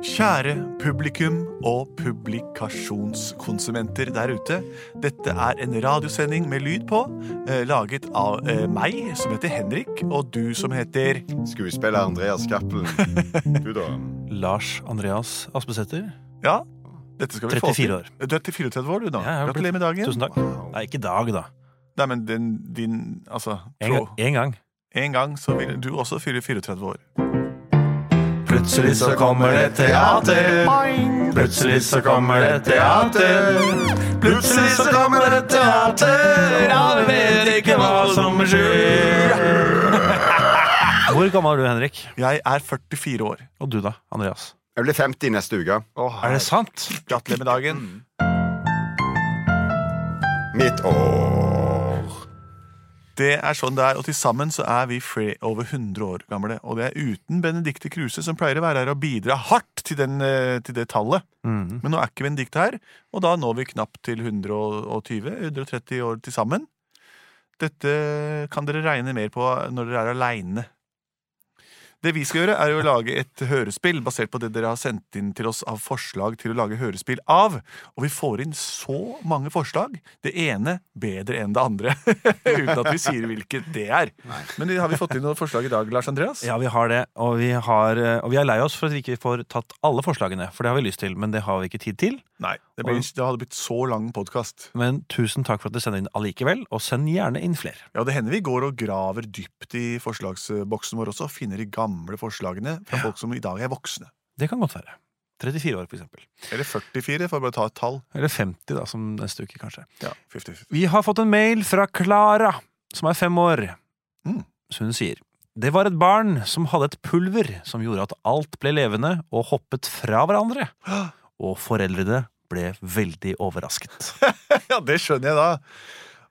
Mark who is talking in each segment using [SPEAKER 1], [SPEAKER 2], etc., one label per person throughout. [SPEAKER 1] Kjære publikum og publikasjonskonsumenter der ute. Dette er en radiosending med lyd på, eh, laget av eh, meg, som heter Henrik, og du som heter
[SPEAKER 2] Skuespiller Andreas Cappelen. Du, da?
[SPEAKER 3] Lars Andreas Aspesæter.
[SPEAKER 1] Ja, dette skal vi få til. Eh,
[SPEAKER 3] 34 år.
[SPEAKER 1] Du er til 34 år, du, da.
[SPEAKER 3] Ja, jeg har blitt-
[SPEAKER 1] Gratulerer med dagen.
[SPEAKER 3] Tusen takk.
[SPEAKER 2] Wow.
[SPEAKER 3] Nei, ikke i dag, da.
[SPEAKER 1] Nei, men din, din altså
[SPEAKER 3] En,
[SPEAKER 1] tro.
[SPEAKER 3] gang- en gang.
[SPEAKER 1] En gang så vil du også fylle 34 år.
[SPEAKER 3] Plutselig
[SPEAKER 2] så kommer det teater.
[SPEAKER 3] Plutselig så kommer det
[SPEAKER 2] Plutselig så kommer det teater.
[SPEAKER 3] vi vet ikke hva som skjer. Hvor gammel er du, Henrik?
[SPEAKER 1] Jeg er 44 år.
[SPEAKER 3] Og du da, Andreas?
[SPEAKER 2] Jeg blir 50 neste uke.
[SPEAKER 3] Er det sant?
[SPEAKER 1] Gratulerer med dagen.
[SPEAKER 2] Mitt år.
[SPEAKER 1] Det er sånn det er, og til sammen så er vi fre- over 100 år gamle. Og det er uten Benedicte Kruse, som pleier å være her og bidra hardt til, den, eh, til det tallet.
[SPEAKER 3] Mhm.
[SPEAKER 1] Men nå er ikke Benedicte her, og da når vi knapt til 120-130 år til sammen. Dette kan dere regne mer på når dere er aleine. Det vi skal gjøre, er jo å lage et hørespill basert på det dere har sendt inn til oss av forslag til å lage hørespill av. Og vi får inn så mange forslag. Det ene bedre enn det andre. Uten at vi sier hvilket det er. Men har vi fått inn noen forslag i dag, Lars Andreas?
[SPEAKER 3] Ja, vi har det. Og vi, har, eh, og vi er lei oss for at vi ikke får tatt alle forslagene. For det har vi lyst til, men det har vi ikke tid til.
[SPEAKER 1] Nei. Det, blir, det hadde blitt så lang podkast.
[SPEAKER 3] Men tusen takk for at dere sender inn allikevel, og send gjerne inn flere.
[SPEAKER 1] Ja, det hender vi går og graver dypt i forslagsboksen vår også, og finner de gamle forslagene fra folk som i dag er voksne.
[SPEAKER 3] Det kan godt være. 34 år, for eksempel.
[SPEAKER 1] Eller 44, for å bare ta et tall.
[SPEAKER 3] Eller 50, da, som neste uke, kanskje.
[SPEAKER 1] Ja, 50.
[SPEAKER 3] Vi har fått en mail fra Klara, som er fem år.
[SPEAKER 1] Mm.
[SPEAKER 3] Så hun sier Det var et barn som hadde et pulver som gjorde at alt ble levende og hoppet fra hverandre. Og foreldrene ble veldig overrasket.
[SPEAKER 1] Ja, det skjønner jeg da.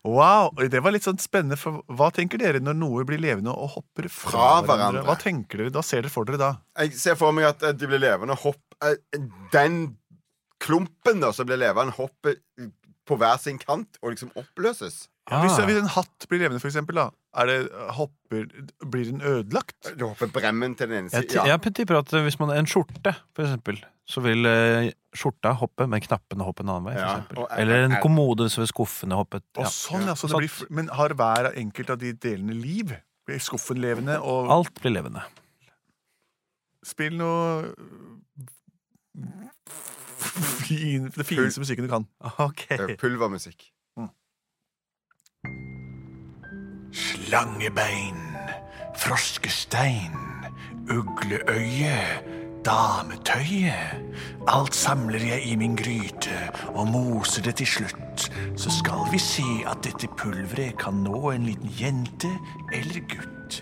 [SPEAKER 1] Wow, og det var litt sånn spennende, for hva tenker dere når noe blir levende og hopper fra,
[SPEAKER 2] Fra hverandre.
[SPEAKER 1] Hva tenker dere, da ser dere for dere da?
[SPEAKER 2] Jeg ser for meg at eh, de blir levende hopp eh, Den klumpen da som blir levende, hopper på hver sin kant og liksom oppløses.
[SPEAKER 1] Hvis,
[SPEAKER 3] Ah.
[SPEAKER 1] hvis en hatt blir levende, for eksempel, da, er det, hopper, blir den ødelagt?
[SPEAKER 2] Du hopper bremmen til den ene
[SPEAKER 3] Ah. Jeg, ti-
[SPEAKER 2] siden. Ja.
[SPEAKER 3] jeg tipper at eh, hvis man har en skjorte, for eksempel, så vil eh, skjorta hoppe, men knappene hoppe en annen vei. For
[SPEAKER 2] Ja,
[SPEAKER 3] eksempel.
[SPEAKER 2] og er-
[SPEAKER 3] Eller en
[SPEAKER 2] er-
[SPEAKER 3] kommode så vil skuffene hoppe.
[SPEAKER 1] Og
[SPEAKER 3] Ja.
[SPEAKER 1] sånn, ja. Så det
[SPEAKER 3] Sant.
[SPEAKER 1] blir, f- men har hver enkelt av de delene liv? Blir skuffen levende? Og
[SPEAKER 3] Alt blir levende.
[SPEAKER 1] Spill noe fin, Det fineste musikken du kan.
[SPEAKER 2] Eh, Pulvermusikk.
[SPEAKER 1] Slangebein, froskestein, ugleøye, dametøyet. Alt samler jeg i min gryte og moser det til slutt. Så skal vi se at dette pulveret kan nå en liten jente eller gutt.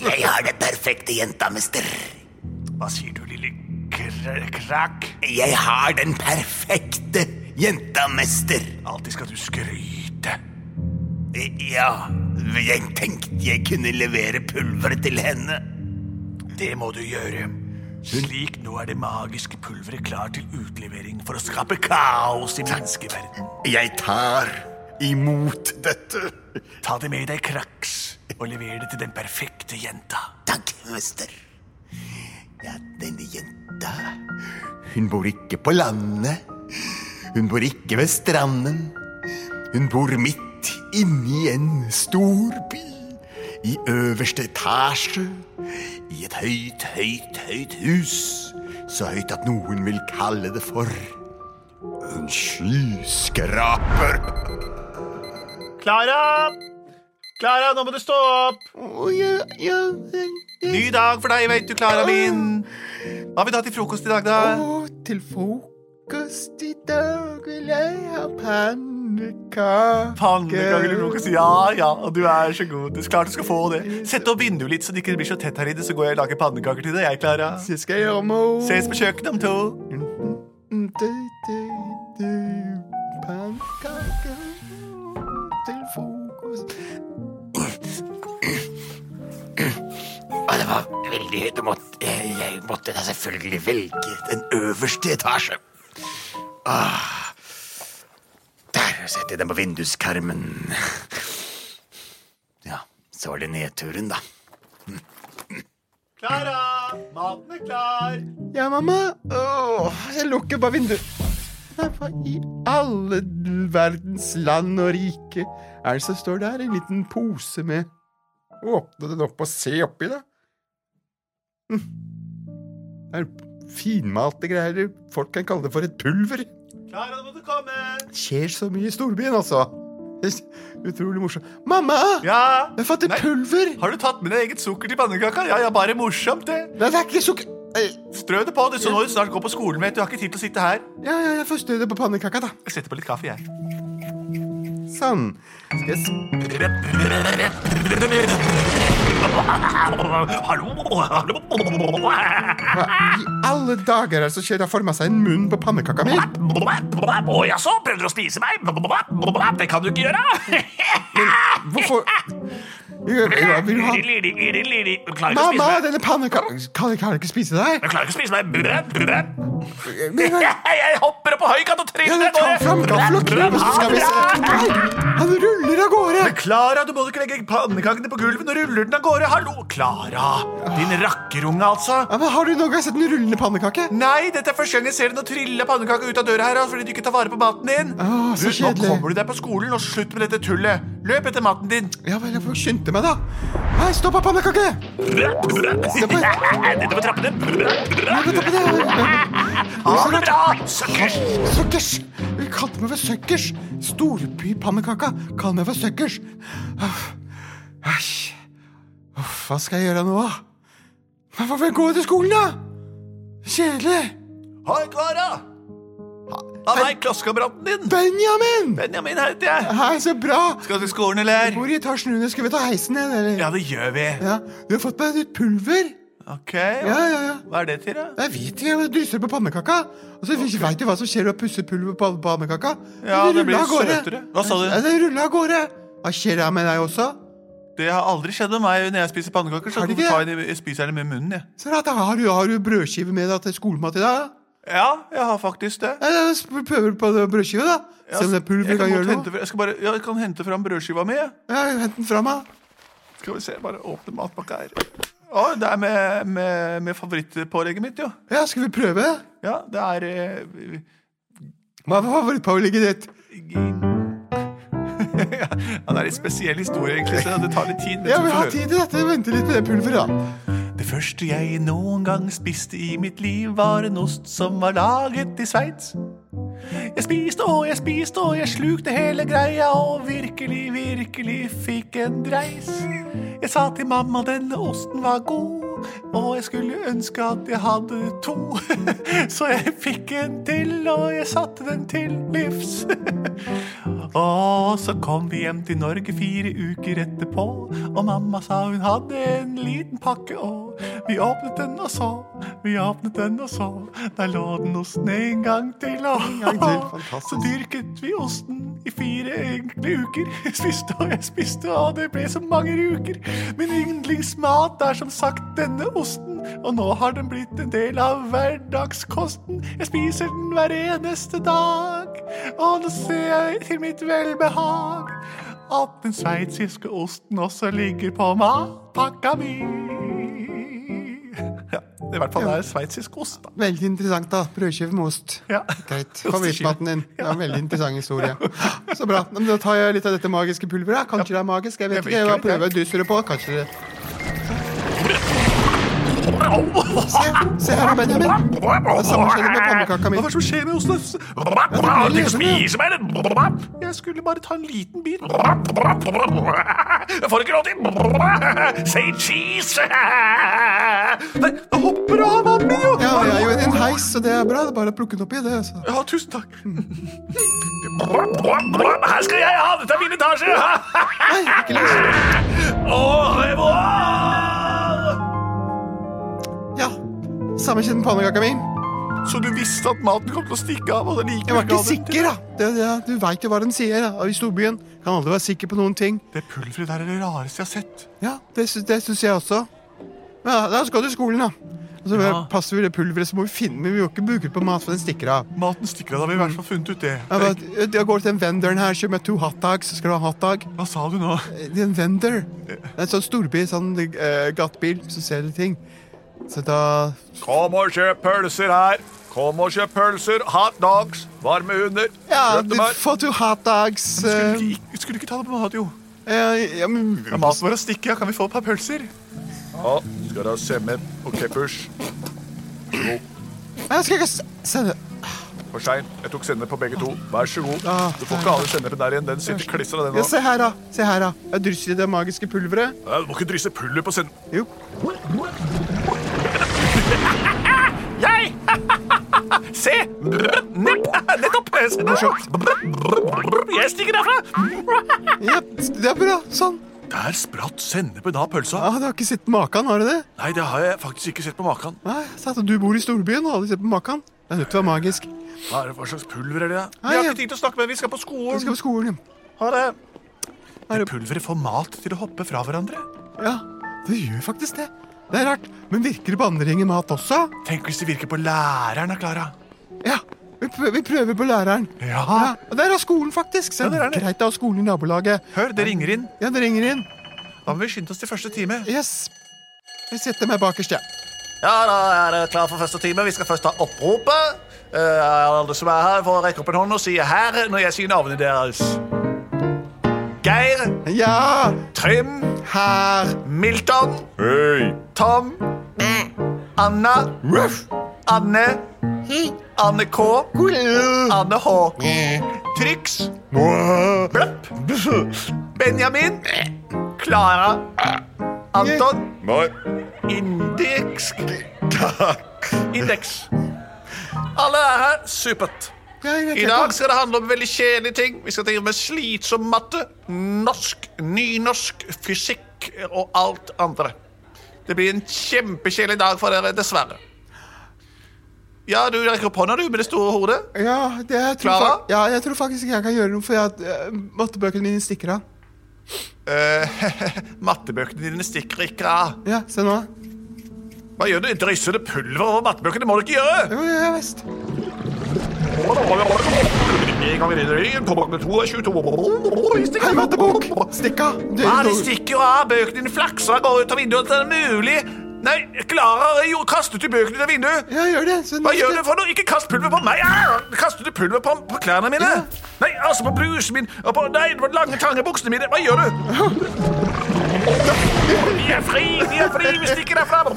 [SPEAKER 4] Jeg har det perfekte jenta, mister.
[SPEAKER 1] Hva sier du, lille kr krakk?
[SPEAKER 4] Jeg har den perfekte jenta, mester.
[SPEAKER 1] Alltid skal du skryte.
[SPEAKER 4] Ja, jeg tenkte jeg kunne levere pulveret til henne.
[SPEAKER 1] Det må du gjøre. Slik nå er det magiske pulveret klar til utlevering for å skape kaos i menneskeverden.
[SPEAKER 2] Jeg tar imot dette.
[SPEAKER 1] Ta det med deg, Kraks, og lever det til den perfekte jenta.
[SPEAKER 4] Takk, mester. Ja, denne jenta Hun bor ikke på landet. Hun bor ikke ved stranden. Hun bor midt inni en stor by. I øverste etasje. I et høyt, høyt, høyt hus. Så høyt at noen vil kalle det for en skyskraper.
[SPEAKER 1] Klara! Klara, nå må du stå opp!
[SPEAKER 4] Å, ja, ja, ja.
[SPEAKER 1] Ny dag for deg, veit du, Klara min. Hva vil du ha til frokost i dag, da?
[SPEAKER 4] Og til frokost i dag vil jeg ha pann
[SPEAKER 2] Pannekake
[SPEAKER 1] Pannekaker Ja, ja, og du er så god. Det er klart du skal få det. Sett opp vinduet litt, så det ikke blir så tett her inne, så går jeg og lager pannekaker til deg. Jeg, Klara.
[SPEAKER 2] Så skal jeg gjøre meg
[SPEAKER 1] Ses på kjøkkenet om to.
[SPEAKER 2] Pannekaker til frokost
[SPEAKER 4] Og det var veldig høyt. og måtte- eh, Jeg måtte da selvfølgelig velge den øverste etasje. Ah. Der setter jeg den på vinduskarmen. Ja, så var det nedturen, da.
[SPEAKER 1] Klara, maten er klar.
[SPEAKER 2] Ja, mamma. Åh, jeg lukker bare vinduet. Nei, hva i alle verdens land og rike er det som står der? En liten pose med Åpne den opp og se oppi, da. Hm. Det er finmalte greier. Folk kan kalle det for et pulver.
[SPEAKER 1] Klara, nå må du komme.
[SPEAKER 2] Skjer så mye i storbyen, altså. Utrolig morsomt. Mamma!
[SPEAKER 1] Ja.
[SPEAKER 2] Jeg har fått et
[SPEAKER 1] Nei.
[SPEAKER 2] pulver!
[SPEAKER 1] Har du tatt med deg eget sukker til pannekaka? Ja, ja, bare morsomt, det.
[SPEAKER 2] Nei, det er ikke sukker... Eh,
[SPEAKER 1] Strø det på. Det så nå du snart går på skolen, vet du. Jeg har ikke tid til å sitte her.
[SPEAKER 2] Ja, ja, jeg får snø det på pannekaka, da.
[SPEAKER 1] Jeg setter på litt kaffe, jeg.
[SPEAKER 2] Sånn. Skal jeg s-
[SPEAKER 3] Hallo?
[SPEAKER 2] Hva i alle dager er det som skjer? Det har forma seg en munn på pannekaka mi.
[SPEAKER 3] Å jaså, prøvde du å spise meg? Det kan du ikke gjøre!
[SPEAKER 2] Hvorfor Jeg- jeg Vil du ha
[SPEAKER 3] Du klarer ikke å spise
[SPEAKER 2] Mamma,
[SPEAKER 3] meg.
[SPEAKER 2] denne pannekaka Kan jeg kan jeg ikke spise deg?
[SPEAKER 3] Du klarer ikke å spise meg.
[SPEAKER 2] Men jeg-
[SPEAKER 3] Jeg hopper opp på høykant og
[SPEAKER 2] Ja,
[SPEAKER 3] tryller
[SPEAKER 2] men Ta fram gaffel og kniv, og så skal vi se. Nei, Han ruller av gårde!
[SPEAKER 1] Klara, du må ikke legge pannekakene på gulvet. Nå ruller den av gårde. Hallo, Klara. Din rakkerunge, altså.
[SPEAKER 2] Ja, men Har du noen gang sett en rullende pannekake?
[SPEAKER 1] Nei, dette er første gang jeg ser den å trille pannekaka ut av døra her altså, fordi du ikke tar vare på maten din.
[SPEAKER 2] Å, så
[SPEAKER 1] du, nå
[SPEAKER 2] kjedelig.
[SPEAKER 1] kommer du deg på skolen, og slutt med dette tullet. Løp etter maten din.
[SPEAKER 2] Ja vel, jeg får skynde meg, da. Hei, stopp av pannekake! Stopp av
[SPEAKER 3] Nede på trappene.
[SPEAKER 2] Stopp av det.
[SPEAKER 3] Ha det bra, suckers!
[SPEAKER 2] Søkkers! Vi kalte meg for Søkkers. Storbypannekaka. Kall meg for Søkkers. Uff. Æsj. Uff, hva skal jeg gjøre nå, da? Men Hvorfor går jeg til skolen, da? Kjedelig.
[SPEAKER 1] Hei, Klara. Av meg, klassekameraten din.
[SPEAKER 2] Benjamin!
[SPEAKER 1] Benjamin heter jeg.
[SPEAKER 2] Hei, så bra!
[SPEAKER 1] Skal du til skolen, eller?
[SPEAKER 2] Hvor i etasjen under? Skal vi ta heisen ned, eller?
[SPEAKER 1] Ja, det gjør vi.
[SPEAKER 2] Ja, Du har fått meg et nytt pulver.
[SPEAKER 1] Ok.
[SPEAKER 2] Ja, ja, ja.
[SPEAKER 1] Hva er det til, da?
[SPEAKER 2] Jeg vet ikke, jeg drysser på pannekaka. Og så okay. veit du hva som skjer når du pusser pulver på pannekaka.
[SPEAKER 1] Ja, det blir
[SPEAKER 2] ruller av gårde.
[SPEAKER 1] søtere. Hva sa du?
[SPEAKER 2] Ja, det ruller av gårde. Hva skjer da med deg også?
[SPEAKER 1] Det har aldri skjedd med meg når jeg spiser pannekaker. Så
[SPEAKER 2] Har det
[SPEAKER 1] hvorfor
[SPEAKER 2] ikke?
[SPEAKER 1] tar jeg det- jeg spiser jeg det med munnen, jeg.
[SPEAKER 2] Så rart, da har du, har du brødskive med deg til skolemat i dag?
[SPEAKER 1] Ja, jeg har faktisk det.
[SPEAKER 2] Ja, da sp- prøver du på det brødskive, da. Se om det
[SPEAKER 1] jeg, kan
[SPEAKER 2] pulveret kan
[SPEAKER 1] godt
[SPEAKER 2] gjøre
[SPEAKER 1] hente,
[SPEAKER 2] noe.
[SPEAKER 1] fra- jeg, skal bare, ja, jeg kan hente fram brødskiva mi. jeg.
[SPEAKER 2] Ja, Hent den fra meg.
[SPEAKER 1] Skal vi se, bare åpne matpakka her. Å, det er med, med, med favorittpålegget mitt, jo.
[SPEAKER 2] Ja, skal vi prøve?
[SPEAKER 1] Ja, det er eh,
[SPEAKER 2] Hva er favorittpålegget ditt?
[SPEAKER 1] ja, Det er en spesiell historie, egentlig, så det tar litt tid. men
[SPEAKER 2] Ja,
[SPEAKER 1] så
[SPEAKER 2] vi
[SPEAKER 1] får
[SPEAKER 2] har
[SPEAKER 1] høre.
[SPEAKER 2] tid til dette. Vente litt med det pulveret, da.
[SPEAKER 1] Det første jeg noen gang spiste i mitt liv, var en ost som var laget i Sveits. Jeg spiste og jeg spiste og jeg slukte hele greia og virkelig, virkelig fikk en dreis. Jeg sa til mamma denne osten var god, og jeg skulle ønske at jeg hadde to. Så jeg fikk en til, og jeg satte den til livs. Og så kom vi hjem til Norge fire uker etterpå, og mamma sa hun hadde en liten pakke, og vi åpnet den og så, vi åpnet den og så, der lå den osten en gang til, og
[SPEAKER 2] gang til, fantastisk.
[SPEAKER 1] så dyrket vi osten i fire enkle uker. Jeg spiste og jeg spiste, og det ble så mange uker. Min yndlingsmat er som sagt denne osten, og nå har den blitt en del av hverdagskosten. Jeg spiser den hver eneste dag, og nå ser jeg til mitt velbehag at den sveitsiske osten også ligger på matpakka mi. Ja, i hvert fall det er sveitsisk ost, da.
[SPEAKER 2] Veldig interessant, da. Brødskive med ost.
[SPEAKER 1] Ja.
[SPEAKER 2] Greit.
[SPEAKER 1] Osteskive.
[SPEAKER 2] Favorittmaten din. Det var en veldig interessant historie. Så bra. Men da tar jeg litt av dette magiske pulveret. Kanskje det er magisk? Jeg vet
[SPEAKER 1] Jeg
[SPEAKER 2] ikke. Jeg
[SPEAKER 1] vet
[SPEAKER 2] bare
[SPEAKER 1] ikke.
[SPEAKER 2] prøver å dysse det på. Kanskje det Se, se her, Benjamin. Det samme skjedde med pannekaka mi.
[SPEAKER 1] Hva er det som skjer med osten?
[SPEAKER 2] den er
[SPEAKER 3] Du spiser meg, den!
[SPEAKER 1] Jeg skulle bare ta en liten bit.
[SPEAKER 3] Jeg får ikke lov til Say cheese!
[SPEAKER 1] Nei, det hopper av mannen min, jo!
[SPEAKER 2] altså. Ja, jeg er jo i en heis, så det er bra. Det er bare å plukke den oppi. det. Så.
[SPEAKER 1] Ja, tusen takk. Her skal jeg ha! Dette er min etasje!
[SPEAKER 2] Ikke lys.
[SPEAKER 1] Åh, jeg må ha!
[SPEAKER 2] Ja. Samme kjent pannekaka mi.
[SPEAKER 5] Så du visste at maten kom til å stikke av? og det
[SPEAKER 2] Jeg var ikke
[SPEAKER 5] likevel ga den til-
[SPEAKER 2] sikker, da. Det, det, du veit jo hva den sier da. i storbyen. Kan aldri være sikker på noen ting.
[SPEAKER 5] Det pulveret der er det rareste jeg har sett.
[SPEAKER 2] Ja, Det, sy- det syns jeg også. Men ja, la oss gå til skolen, da. Og så
[SPEAKER 6] Ja.
[SPEAKER 2] passer vi det pulveret, så må vi finne men Vi må ikke bruke det på mat, for den stikker av.
[SPEAKER 5] Maten stikker av, da har vi i hvert fall funnet ut det.
[SPEAKER 2] Ja,
[SPEAKER 5] det er
[SPEAKER 2] men, Jeg, jeg går til den venderen her, kjøper meg to hotdogs. Skal du ha hotdog?
[SPEAKER 5] ikke- Hva sa du nå?
[SPEAKER 2] Eh, Det er en vender. Det er en sånn storby, sånn eh, gatebil, så ser du ting. Så da
[SPEAKER 1] Kom og kjøp pølser her. Kom og kjøp pølser, hot dogs, varme hunder,
[SPEAKER 2] Ja, du
[SPEAKER 1] grøttemær.
[SPEAKER 2] får to hotdogs.
[SPEAKER 5] Skulle du ikke, skulle du ikke ta det på mat, jo?
[SPEAKER 2] eh, ja, men
[SPEAKER 5] Ja, maten vår er stikke, ja. Kan vi få et par pølser?
[SPEAKER 1] Ja, skal du ha semmer og keppers?
[SPEAKER 2] Jeg skal ikke s- sende
[SPEAKER 1] For sein. Jeg tok sender på begge to. Vær så god.
[SPEAKER 2] Ah,
[SPEAKER 1] Du får ikke ha den senderen der igjen. Den sitter klistra, den
[SPEAKER 2] ja,
[SPEAKER 1] òg.
[SPEAKER 2] Se her, da. Se her, da. Jeg drysser i det magiske pulveret.
[SPEAKER 1] Du må ikke drysse pulver på senden.
[SPEAKER 2] Jo.
[SPEAKER 1] Jeg! Se! Nettopp! Jeg stikker derfra.
[SPEAKER 2] Ja, det er bra. Sånn.
[SPEAKER 5] Der spratt sennepen av pølsa.
[SPEAKER 2] Ah, du har ikke sett maken, har du det?
[SPEAKER 5] Nei, det har jeg faktisk ikke sett på maken.
[SPEAKER 2] Nei, sant, og Du bor i storbyen og har aldri sett på maken. Det er nødt til å være magisk.
[SPEAKER 5] Hva, er det, hva slags pulver er det? da?
[SPEAKER 2] Nei,
[SPEAKER 5] Vi har
[SPEAKER 2] jeg-
[SPEAKER 5] ikke tid til å snakke med Vi skal på
[SPEAKER 2] Jeg skal på skolen.
[SPEAKER 5] skolen.
[SPEAKER 2] ja.
[SPEAKER 5] Ha det.
[SPEAKER 2] Er
[SPEAKER 5] Det
[SPEAKER 2] det-
[SPEAKER 5] pulveret får mat til å hoppe fra hverandre.
[SPEAKER 2] Ja, det gjør faktisk det. Det er rart. Men virker det på andre gjenger mat også?
[SPEAKER 5] Tenk hvis det virker på læreren, da, Klara.
[SPEAKER 2] Ja. Vi prøver, vi prøver på læreren.
[SPEAKER 5] Ja.
[SPEAKER 2] Ja, og Der er skolen, faktisk. Så
[SPEAKER 5] Ja,
[SPEAKER 2] det
[SPEAKER 5] der er
[SPEAKER 2] er
[SPEAKER 5] det.
[SPEAKER 2] greit å ha skolen i nabolaget.
[SPEAKER 5] Hør, det ringer inn.
[SPEAKER 2] Ja, det ringer inn.
[SPEAKER 5] Da må vi skynde oss til første time.
[SPEAKER 2] Yes. Jeg setter meg bakerst, jeg.
[SPEAKER 1] Ja, da er det klar for første time. Vi skal først ta oppropet. Eh, Alle som er her, får rekke opp en hånd og si her når jeg sier navnene deres. Geir,
[SPEAKER 2] Ja. ja!
[SPEAKER 1] Trym,
[SPEAKER 2] Her.
[SPEAKER 1] Milton, Tom, Anna, Anne, Anne K, Anne H, Trix, Bløpp, Benjamin, Klara, Anton, Indeks Indeks. Alle er her. Supert.
[SPEAKER 2] Ja, jeg vet
[SPEAKER 1] I
[SPEAKER 2] ikke.
[SPEAKER 1] dag skal det handle om veldig kjedelige ting. Vi skal drive med slitsom matte, norsk, nynorsk, fysikk og alt andre. Det blir en kjempekjedelig dag for dere, dessverre. Ja, du rekker opp hånda, du, med det store hodet.
[SPEAKER 2] Ja, det, jeg, tror
[SPEAKER 1] Clara?
[SPEAKER 2] fak- ja, jeg tror faktisk ikke jeg kan gjøre noe, for jeg, eh, mattebøkene mine stikker av.
[SPEAKER 1] Eh, mattebøkene dine stikker ikke av.
[SPEAKER 2] Ja, se nå.
[SPEAKER 1] Hva gjør du? Drysser det pulver over mattebøkene? Det må du ikke gjøre!
[SPEAKER 2] Jo, ja, ja, visst.
[SPEAKER 1] En gang i revyen, på bok med to er 22.
[SPEAKER 2] Hei, mattebok! Stikk av! Du-
[SPEAKER 1] Ja, det
[SPEAKER 2] du-
[SPEAKER 1] stikker jo av. Bøkene dine flakser og går ut av vinduet. Det er mulig. Nei, Klara har jo kastet ut bøkene ut av vinduet.
[SPEAKER 2] Ja, gjør det. Så
[SPEAKER 1] Hva gjør du for noe? Ikke kast pulver på meg! Ah, kastet du pulver på, på klærne mine? Nei, altså på blusen min og på Nei, på de lange, trange buksene mine. Hva gjør du? Vi er fri, vi er fri, vi stikker derfra. Hva?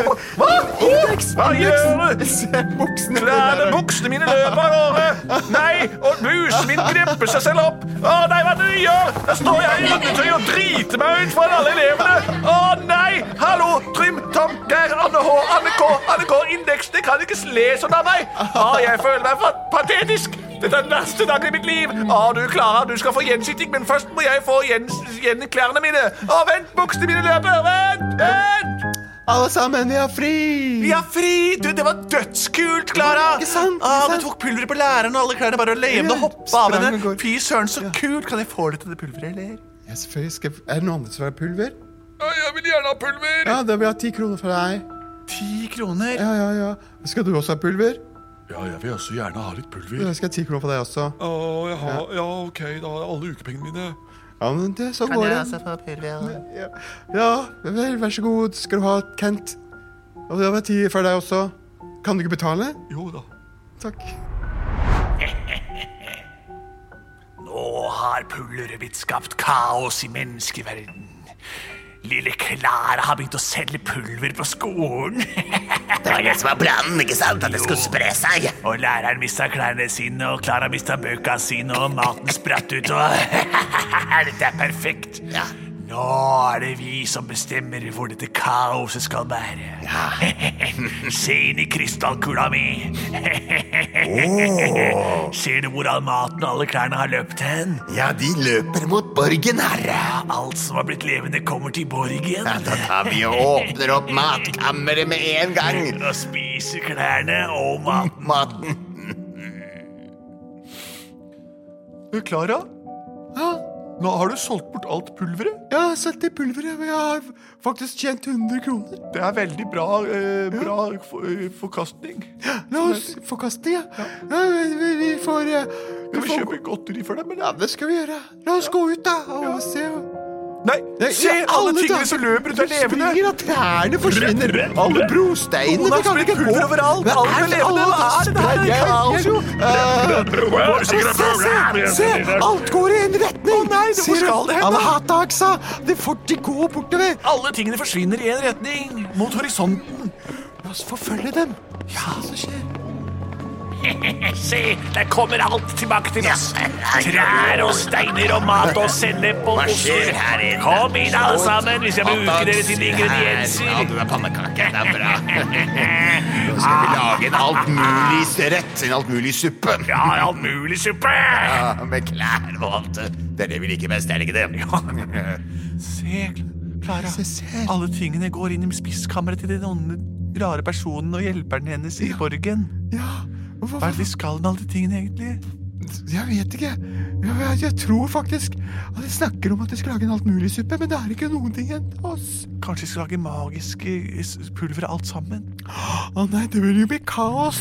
[SPEAKER 1] Hva gjør du?
[SPEAKER 2] Se buksene
[SPEAKER 1] Klærne, buksene mine løper av gårde. Nei, og blusen min grepper seg selv opp. Å nei, hva er det du gjør? Der står jeg i undertøy og driter meg ut foran alle elevene. Å nei! Hallo, Trym, Tom, Geir, Anne H, Anne K, Anne K, Indeks. Det kan ikke le sånn av meg. Å, jeg føler meg fa- patetisk. Dette er den verste dagen i mitt liv. Å, du, Klara, du skal få gjensitting, men først må jeg få gjens, gjen klærne mine. Å, vent, buksene mine løper. Vent, vent.
[SPEAKER 2] Alle sammen, vi har fri!
[SPEAKER 1] Vi er fri! Du, det var dødskult, Klara!
[SPEAKER 2] Ikke sant, ikke
[SPEAKER 1] Ah, du
[SPEAKER 2] sant?
[SPEAKER 1] tok pulveret på læreren og alle klærne bare levende
[SPEAKER 2] Ja,
[SPEAKER 1] hoppa av
[SPEAKER 2] sprang og
[SPEAKER 1] henne.
[SPEAKER 2] går.
[SPEAKER 1] Fy søren, så kult! Kan jeg få litt av det pulveret, eller?
[SPEAKER 2] Ja, selvfølgelig skal Er det noe annet som er pulver?
[SPEAKER 1] Jeg vil gjerne ha pulver!
[SPEAKER 2] Ja, da vil jeg ha ti kroner fra deg.
[SPEAKER 5] Ti kroner.
[SPEAKER 2] Ja, ja, ja. Skal du også ha pulver?
[SPEAKER 5] Ja, jeg vil også gjerne ha litt pulver.
[SPEAKER 2] Da skal jeg ha ti kroner fra deg også.
[SPEAKER 5] Å, jeg har, ja, ok, da har jeg alle ukepengene mine.
[SPEAKER 2] Ja, men det, sånn går det.
[SPEAKER 1] få pulver?
[SPEAKER 2] Ja, ja vel, vær så god. Skal du ha Kent? Og da vil jeg ha ti fra deg også. Kan du ikke betale?
[SPEAKER 5] Jo da.
[SPEAKER 2] Takk.
[SPEAKER 1] Nå har pulveret mitt skapt kaos i menneskeverden. Lille Klara har begynt å selge pulver på skolen.
[SPEAKER 4] Det var det som var planen, ikke sant? At det skulle spre seg.
[SPEAKER 1] Og læreren mista klærne sine, og Klara mista bøkene sine, og maten spratt ut, og Dette er perfekt.
[SPEAKER 4] Ja.
[SPEAKER 1] Nå Nå er det vi som bestemmer hvor dette kaoset skal bære. Se inn i krystallkula mi. Ser du hvor all maten og alle klærne har løpt hen?
[SPEAKER 4] Ja, de løper mot borgen, herre.
[SPEAKER 1] Alt som har blitt levende, kommer til borgen.
[SPEAKER 4] Ja, da tar vi og åpner opp matkammeret med en gang.
[SPEAKER 1] Og spiser klærne og maten.
[SPEAKER 4] Maten.
[SPEAKER 3] Klara? Nå har du solgt bort alt pulveret.
[SPEAKER 2] Jeg har solgt det pulveret, og jeg har faktisk tjent 100 kroner.
[SPEAKER 3] Det er veldig bra, eh, bra for, eh, forkastning.
[SPEAKER 2] La oss forkaste, ja. ja vi, vi- vi får eh,
[SPEAKER 3] Skal vi
[SPEAKER 2] får-
[SPEAKER 3] kjøpe godteri for dem, eller?
[SPEAKER 2] Ja, det skal vi gjøre. La oss gå ut, da, og se.
[SPEAKER 3] Nei,
[SPEAKER 2] Nei,
[SPEAKER 3] se!
[SPEAKER 2] ja,
[SPEAKER 3] alle
[SPEAKER 2] dager.
[SPEAKER 3] tingene som løper ut, er
[SPEAKER 2] Du
[SPEAKER 3] levende!
[SPEAKER 2] springer, og trærne forsvinner. Alle brosteinene
[SPEAKER 3] Noen har spredt pulver overalt. Alle
[SPEAKER 2] er det
[SPEAKER 3] levende, hva er det her?
[SPEAKER 2] spredd? Jeg kan ikke- Se, se! Alt går i en retning! Å nei,
[SPEAKER 3] hvor skal det hen, da?
[SPEAKER 2] Amahataksa! Det får de gå bortover.
[SPEAKER 7] Alle tingene forsvinner i en retning.
[SPEAKER 3] Mot horisonten.
[SPEAKER 2] La oss forfølge dem. Ja, det skjer.
[SPEAKER 1] Se, der kommer alt tilbake til oss. Trær og steiner og mat og sennep og
[SPEAKER 4] Hva skjer
[SPEAKER 1] oster.
[SPEAKER 4] her inne?
[SPEAKER 1] Kom inn, alle sammen, hvis jeg bruker dere til
[SPEAKER 4] Her. Ja,
[SPEAKER 1] ingredienser.
[SPEAKER 4] du er pannekake. Det er bra. Nå skal vi lage en alt mulig rett. En alt mulig suppe.
[SPEAKER 1] Ja, all mulig suppe!
[SPEAKER 4] Ja, Med klær og alt. Det er det vi liker best, er det ikke det?
[SPEAKER 3] Se, Klara.
[SPEAKER 2] Se, se.
[SPEAKER 3] Alle tingene går inn i spiskammeret til den onde, rare personen og hjelperen hennes i borgen.
[SPEAKER 2] Ja, og hva,
[SPEAKER 3] Hva er det de skal med alle de tingene, egentlig?
[SPEAKER 2] jeg vet ikke. Jeg, jeg, jeg tror faktisk at de snakker om at de skal lage en altmuligsuppe, men det er ikke noen ting igjen til oss.
[SPEAKER 3] Kanskje de skal lage magiske s- pulver alt sammen?
[SPEAKER 2] Å nei, det vil jo bli kaos.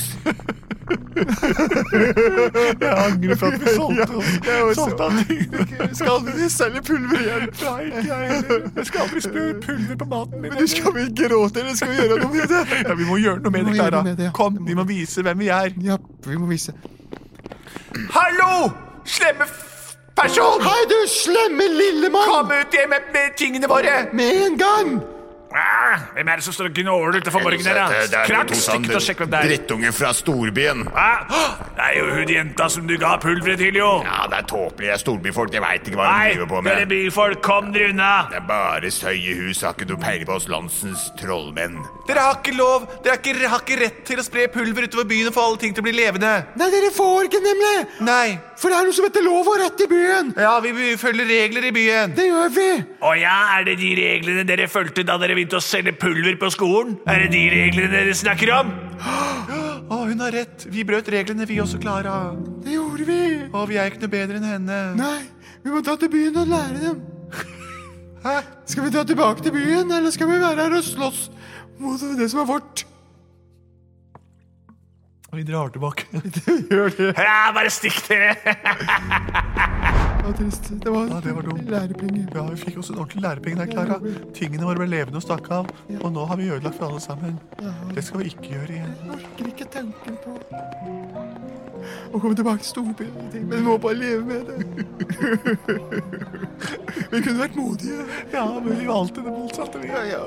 [SPEAKER 3] Angrer for at vi solgte oss. Solgte alle tingene.
[SPEAKER 2] Skal vi selge pulver igjen?
[SPEAKER 3] Nei, ikke jeg heller. Jeg skal aldri spre pulver på maten min.
[SPEAKER 2] Men du skal vel gråte, eller skal vi gjøre noe med det?
[SPEAKER 3] Ja, vi må gjøre noe med
[SPEAKER 2] Vi må
[SPEAKER 3] det,
[SPEAKER 2] gjøre
[SPEAKER 3] Klara.
[SPEAKER 2] noe med det, ja.
[SPEAKER 3] Kom, vi må vise hvem vi er.
[SPEAKER 2] Ja, vi må vise.
[SPEAKER 8] Hallo! Slemme f- person!
[SPEAKER 2] Hei, du slemme lille mann!
[SPEAKER 8] Kom ut hjem med, med tingene våre!
[SPEAKER 2] Med en gang!
[SPEAKER 1] Ah, Hvem er det som står og gnåler utenfor borgen her,
[SPEAKER 4] eh, Det
[SPEAKER 1] da?
[SPEAKER 4] er
[SPEAKER 1] Krakk,
[SPEAKER 4] to
[SPEAKER 1] stikk ut
[SPEAKER 4] sånne
[SPEAKER 1] og sjekk hvem det er.
[SPEAKER 4] Drittunger fra storbyen.
[SPEAKER 1] Ah, Det er jo hun jenta som du ga pulveret til, jo.
[SPEAKER 4] Ja, det er tåpelige storbyfolk. De veit ikke hva de
[SPEAKER 1] Nei,
[SPEAKER 4] driver på
[SPEAKER 1] dere
[SPEAKER 4] med.
[SPEAKER 1] byfolk, kom dere unna.
[SPEAKER 4] Det er bare støy i hus. Har ikke du peiling på oss landsens trollmenn?
[SPEAKER 3] Dere har ikke lov! Dere har ikke, dere har ikke rett til å spre pulver utover byen og få alle ting til å bli levende.
[SPEAKER 2] Nei, dere får ikke, nemlig!
[SPEAKER 3] Nei.
[SPEAKER 2] For det er noe som heter lov og rett i byen!
[SPEAKER 3] Ja, vi vi følger regler i byen.
[SPEAKER 2] Det gjør vi!
[SPEAKER 1] Å ja, er det de reglene dere fulgte da dere begynte å selge pulver på skolen? Er det de reglene dere snakker om?
[SPEAKER 3] Å, hun har rett. Vi brøt reglene, vi også, Klara.
[SPEAKER 2] Det gjorde vi!
[SPEAKER 3] Å, vi er ikke noe bedre enn henne.
[SPEAKER 2] Nei, vi må dra til byen og lære dem. Hæ? Skal vi dra tilbake til byen, eller skal vi være her og slåss mot det som er vårt?
[SPEAKER 3] Vi drar tilbake.
[SPEAKER 1] Ja, bare stikk dere!
[SPEAKER 2] Det var trist. Det var,
[SPEAKER 3] Ja, det var dumt.
[SPEAKER 2] lærepenge.
[SPEAKER 3] Ja, vi fikk også en ordentlig lærepenge der, Klara. Tingene våre ble levende og stakk av. Og nå har vi ødelagt for alle sammen. Det skal vi ikke gjøre igjen.
[SPEAKER 2] Jeg orker ikke tanken på å komme tilbake til storbyen. og ting, Men vi må bare leve med det. Vi kunne vært modige.
[SPEAKER 3] Ja, men vi valgte det motsatte, vi.
[SPEAKER 2] Ja, ja.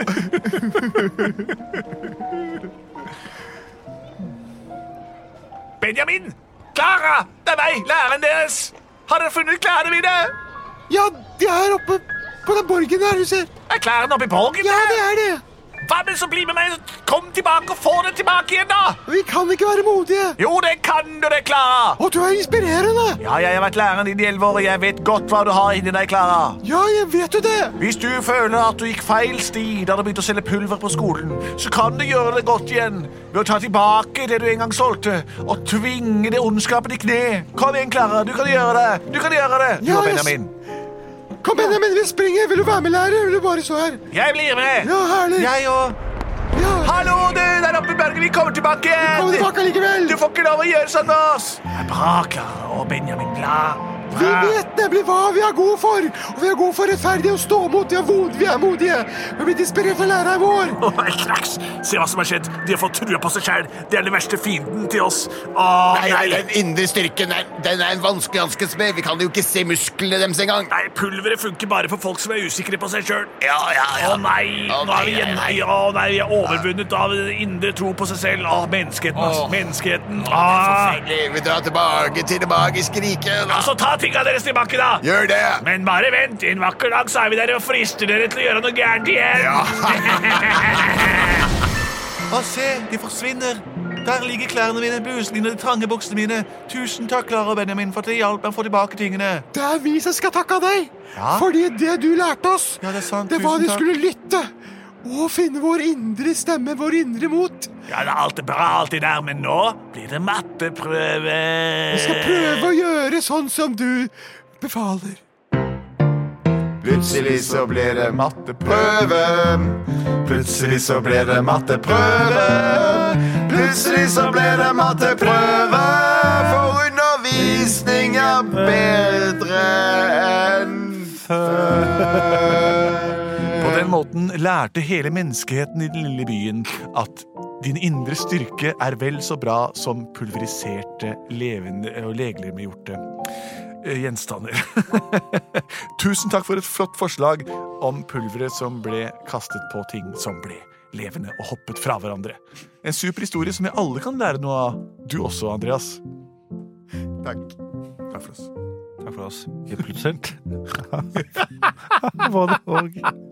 [SPEAKER 1] Benjamin! Klara! Det er meg, læreren deres! Har dere funnet klærne mine?
[SPEAKER 2] Ja, de er oppe på den borgen der, du ser.
[SPEAKER 1] Er klærne oppi borgen?
[SPEAKER 2] Ja, det er det.
[SPEAKER 1] Hva med så bli med meg? Kom tilbake og få det tilbake igjen, da!
[SPEAKER 2] Vi kan ikke være modige.
[SPEAKER 1] Jo, det kan du det, Klara!
[SPEAKER 2] Og du er inspirerende.
[SPEAKER 1] Ja, jeg har vært læreren din i elleve år, og jeg vet godt hva du har inni deg, Klara.
[SPEAKER 2] Ja, jeg vet jo det.
[SPEAKER 1] Hvis du føler at du gikk feil sti da du begynte å selge pulver på skolen, så kan du gjøre det godt igjen ved å ta tilbake det du en gang solgte, og tvinge det ondskapen i kne. Kom igjen, Klara. Du kan gjøre det. Du kan gjøre det. Du
[SPEAKER 2] Ja,
[SPEAKER 1] og
[SPEAKER 2] jeg s-
[SPEAKER 1] Benjamin.
[SPEAKER 2] Kom, Benjamin, vi springer. Vil du være med, lærer? Vil du bare stå her?
[SPEAKER 1] Jeg blir med.
[SPEAKER 2] Ja, herlig.
[SPEAKER 1] Jeg og
[SPEAKER 2] Ja.
[SPEAKER 1] Hallo, du der oppe i berget. Vi kommer tilbake
[SPEAKER 2] Kom tilbake
[SPEAKER 1] igjen.
[SPEAKER 2] likevel.
[SPEAKER 1] Du får ikke lov å gjøre sånn med oss. Det er Bra, Klara og Benjamin. Bra.
[SPEAKER 2] Vi
[SPEAKER 1] Bra.
[SPEAKER 2] vet nemlig hva vi er gode for, og vi er gode for rettferdig å stå mot. Vi er, mod, vi er modige. Vi har blitt inspirert av læreren vår.
[SPEAKER 1] Åh, Knaks! Se hva som har skjedd. De har fått trua på seg sjæl. Det er den verste fienden til oss. Å,
[SPEAKER 4] Nei, nei, den indre styrken er, den er en vanskelig hanske med. Vi kan jo ikke se musklene deres engang.
[SPEAKER 1] Nei, pulveret funker bare for folk som er usikre på seg sjøl.
[SPEAKER 4] Ja, ja,
[SPEAKER 1] Å
[SPEAKER 4] ja.
[SPEAKER 1] nei,
[SPEAKER 4] Å,
[SPEAKER 1] nå er vi
[SPEAKER 4] nei,
[SPEAKER 1] igjen
[SPEAKER 4] nei, nei.
[SPEAKER 1] Å nei, vi er overvunnet av den indre tro på seg selv. Å, menneskeheten, ass.
[SPEAKER 4] Åh.
[SPEAKER 1] Menneskeheten. Ah.
[SPEAKER 4] Vi drar tilbake til det magiske riket. da.
[SPEAKER 1] Altså, ta ta tinga deres tilbake, da!
[SPEAKER 4] Gjør det!
[SPEAKER 1] Men bare vent, en vakker dag så er vi der og frister dere til å gjøre noe gærent igjen.
[SPEAKER 4] Ja.
[SPEAKER 9] Å, se, de forsvinner. Der ligger klærne mine, blusene mine, de trange buksene mine. Tusen takk, Klara og Benjamin, for at dere hjalp meg å få tilbake tingene.
[SPEAKER 2] Det er vi som skal takke deg! Fordi det du lærte oss,
[SPEAKER 9] Ja, det er sant.
[SPEAKER 2] det
[SPEAKER 9] Tusen
[SPEAKER 2] var at vi
[SPEAKER 9] takk.
[SPEAKER 2] skulle lytte. Og finne vår indre stemme, vår indre mot.
[SPEAKER 1] Ja, det er alltid bra, alltid der, men nå blir det matteprøve.
[SPEAKER 2] Vi skal prøve å gjøre sånn som du befaler.
[SPEAKER 4] Plutselig så ble det matteprøve. Plutselig så ble det matteprøve. Plutselig så ble det matteprøve. For undervisning er bedre enn
[SPEAKER 1] På den måten lærte hele menneskeheten i den lille byen at din indre styrke er vel så bra som pulveriserte, levende og legemliggjorte eh, gjenstander. Tusen takk for et flott forslag om pulveret som ble kastet på ting som ble levende og hoppet fra hverandre. En super historie som vi alle kan lære noe av. Du også, Andreas.
[SPEAKER 4] Takk.
[SPEAKER 1] Takk for oss.
[SPEAKER 3] Takk for oss. Vi er produsert. Var det òg?